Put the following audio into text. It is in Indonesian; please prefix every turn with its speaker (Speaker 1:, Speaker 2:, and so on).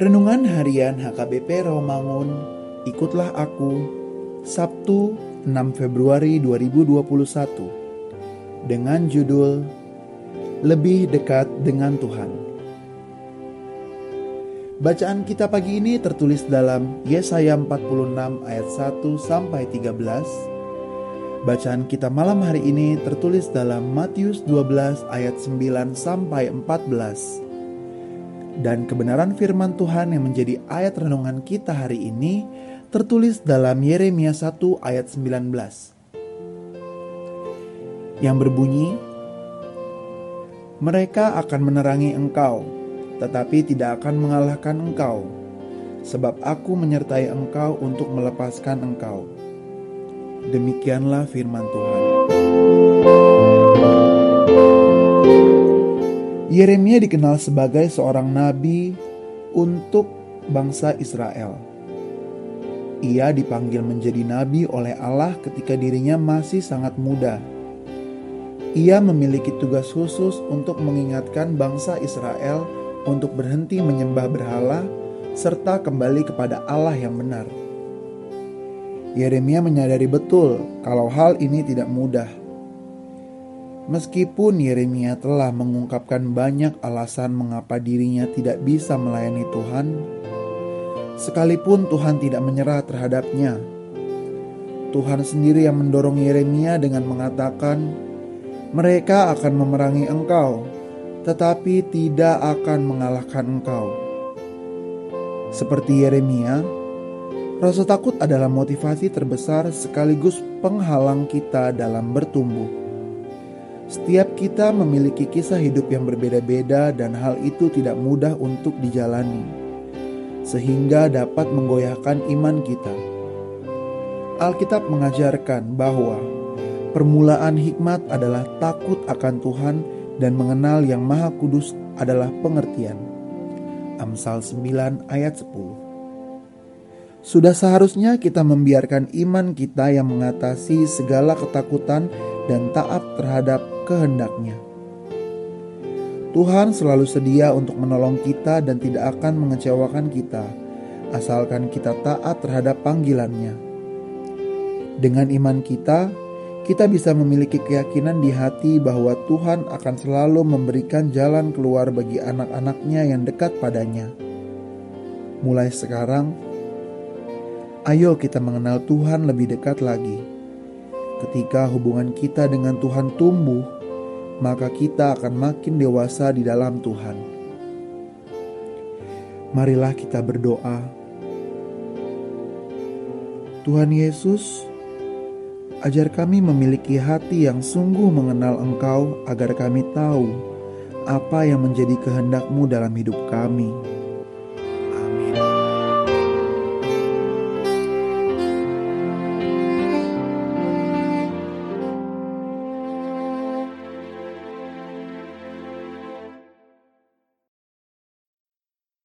Speaker 1: Renungan Harian HKBP Rawamangun, ikutlah aku, Sabtu 6 Februari 2021, dengan judul Lebih Dekat Dengan Tuhan. Bacaan kita pagi ini tertulis dalam Yesaya 46 ayat 1 sampai 13. Bacaan kita malam hari ini tertulis dalam Matius 12 ayat 9 sampai 14 dan kebenaran firman Tuhan yang menjadi ayat renungan kita hari ini tertulis dalam Yeremia 1 ayat 19. Yang berbunyi, Mereka akan menerangi engkau, tetapi tidak akan mengalahkan engkau, sebab aku menyertai engkau untuk melepaskan engkau. Demikianlah firman Tuhan. Yeremia dikenal sebagai seorang nabi untuk bangsa Israel. Ia dipanggil menjadi nabi oleh Allah ketika dirinya masih sangat muda. Ia memiliki tugas khusus untuk mengingatkan bangsa Israel untuk berhenti menyembah berhala serta kembali kepada Allah yang benar. Yeremia menyadari betul kalau hal ini tidak mudah. Meskipun Yeremia telah mengungkapkan banyak alasan mengapa dirinya tidak bisa melayani Tuhan, sekalipun Tuhan tidak menyerah terhadapnya, Tuhan sendiri yang mendorong Yeremia dengan mengatakan, "Mereka akan memerangi engkau, tetapi tidak akan mengalahkan engkau." Seperti Yeremia, rasa takut adalah motivasi terbesar sekaligus penghalang kita dalam bertumbuh. Setiap kita memiliki kisah hidup yang berbeda-beda, dan hal itu tidak mudah untuk dijalani, sehingga dapat menggoyahkan iman kita. Alkitab mengajarkan bahwa permulaan hikmat adalah takut akan Tuhan dan mengenal Yang Maha Kudus adalah pengertian. Amsal 9 ayat 10. Sudah seharusnya kita membiarkan iman kita yang mengatasi segala ketakutan dan taat terhadap kehendaknya. Tuhan selalu sedia untuk menolong kita dan tidak akan mengecewakan kita, asalkan kita taat terhadap panggilannya. Dengan iman kita, kita bisa memiliki keyakinan di hati bahwa Tuhan akan selalu memberikan jalan keluar bagi anak-anaknya yang dekat padanya. Mulai sekarang, ayo kita mengenal Tuhan lebih dekat lagi. Ketika hubungan kita dengan Tuhan tumbuh, maka kita akan makin dewasa di dalam Tuhan. Marilah kita berdoa. Tuhan Yesus, ajar kami memiliki hati yang sungguh mengenal Engkau agar kami tahu apa yang menjadi kehendak-Mu dalam hidup kami.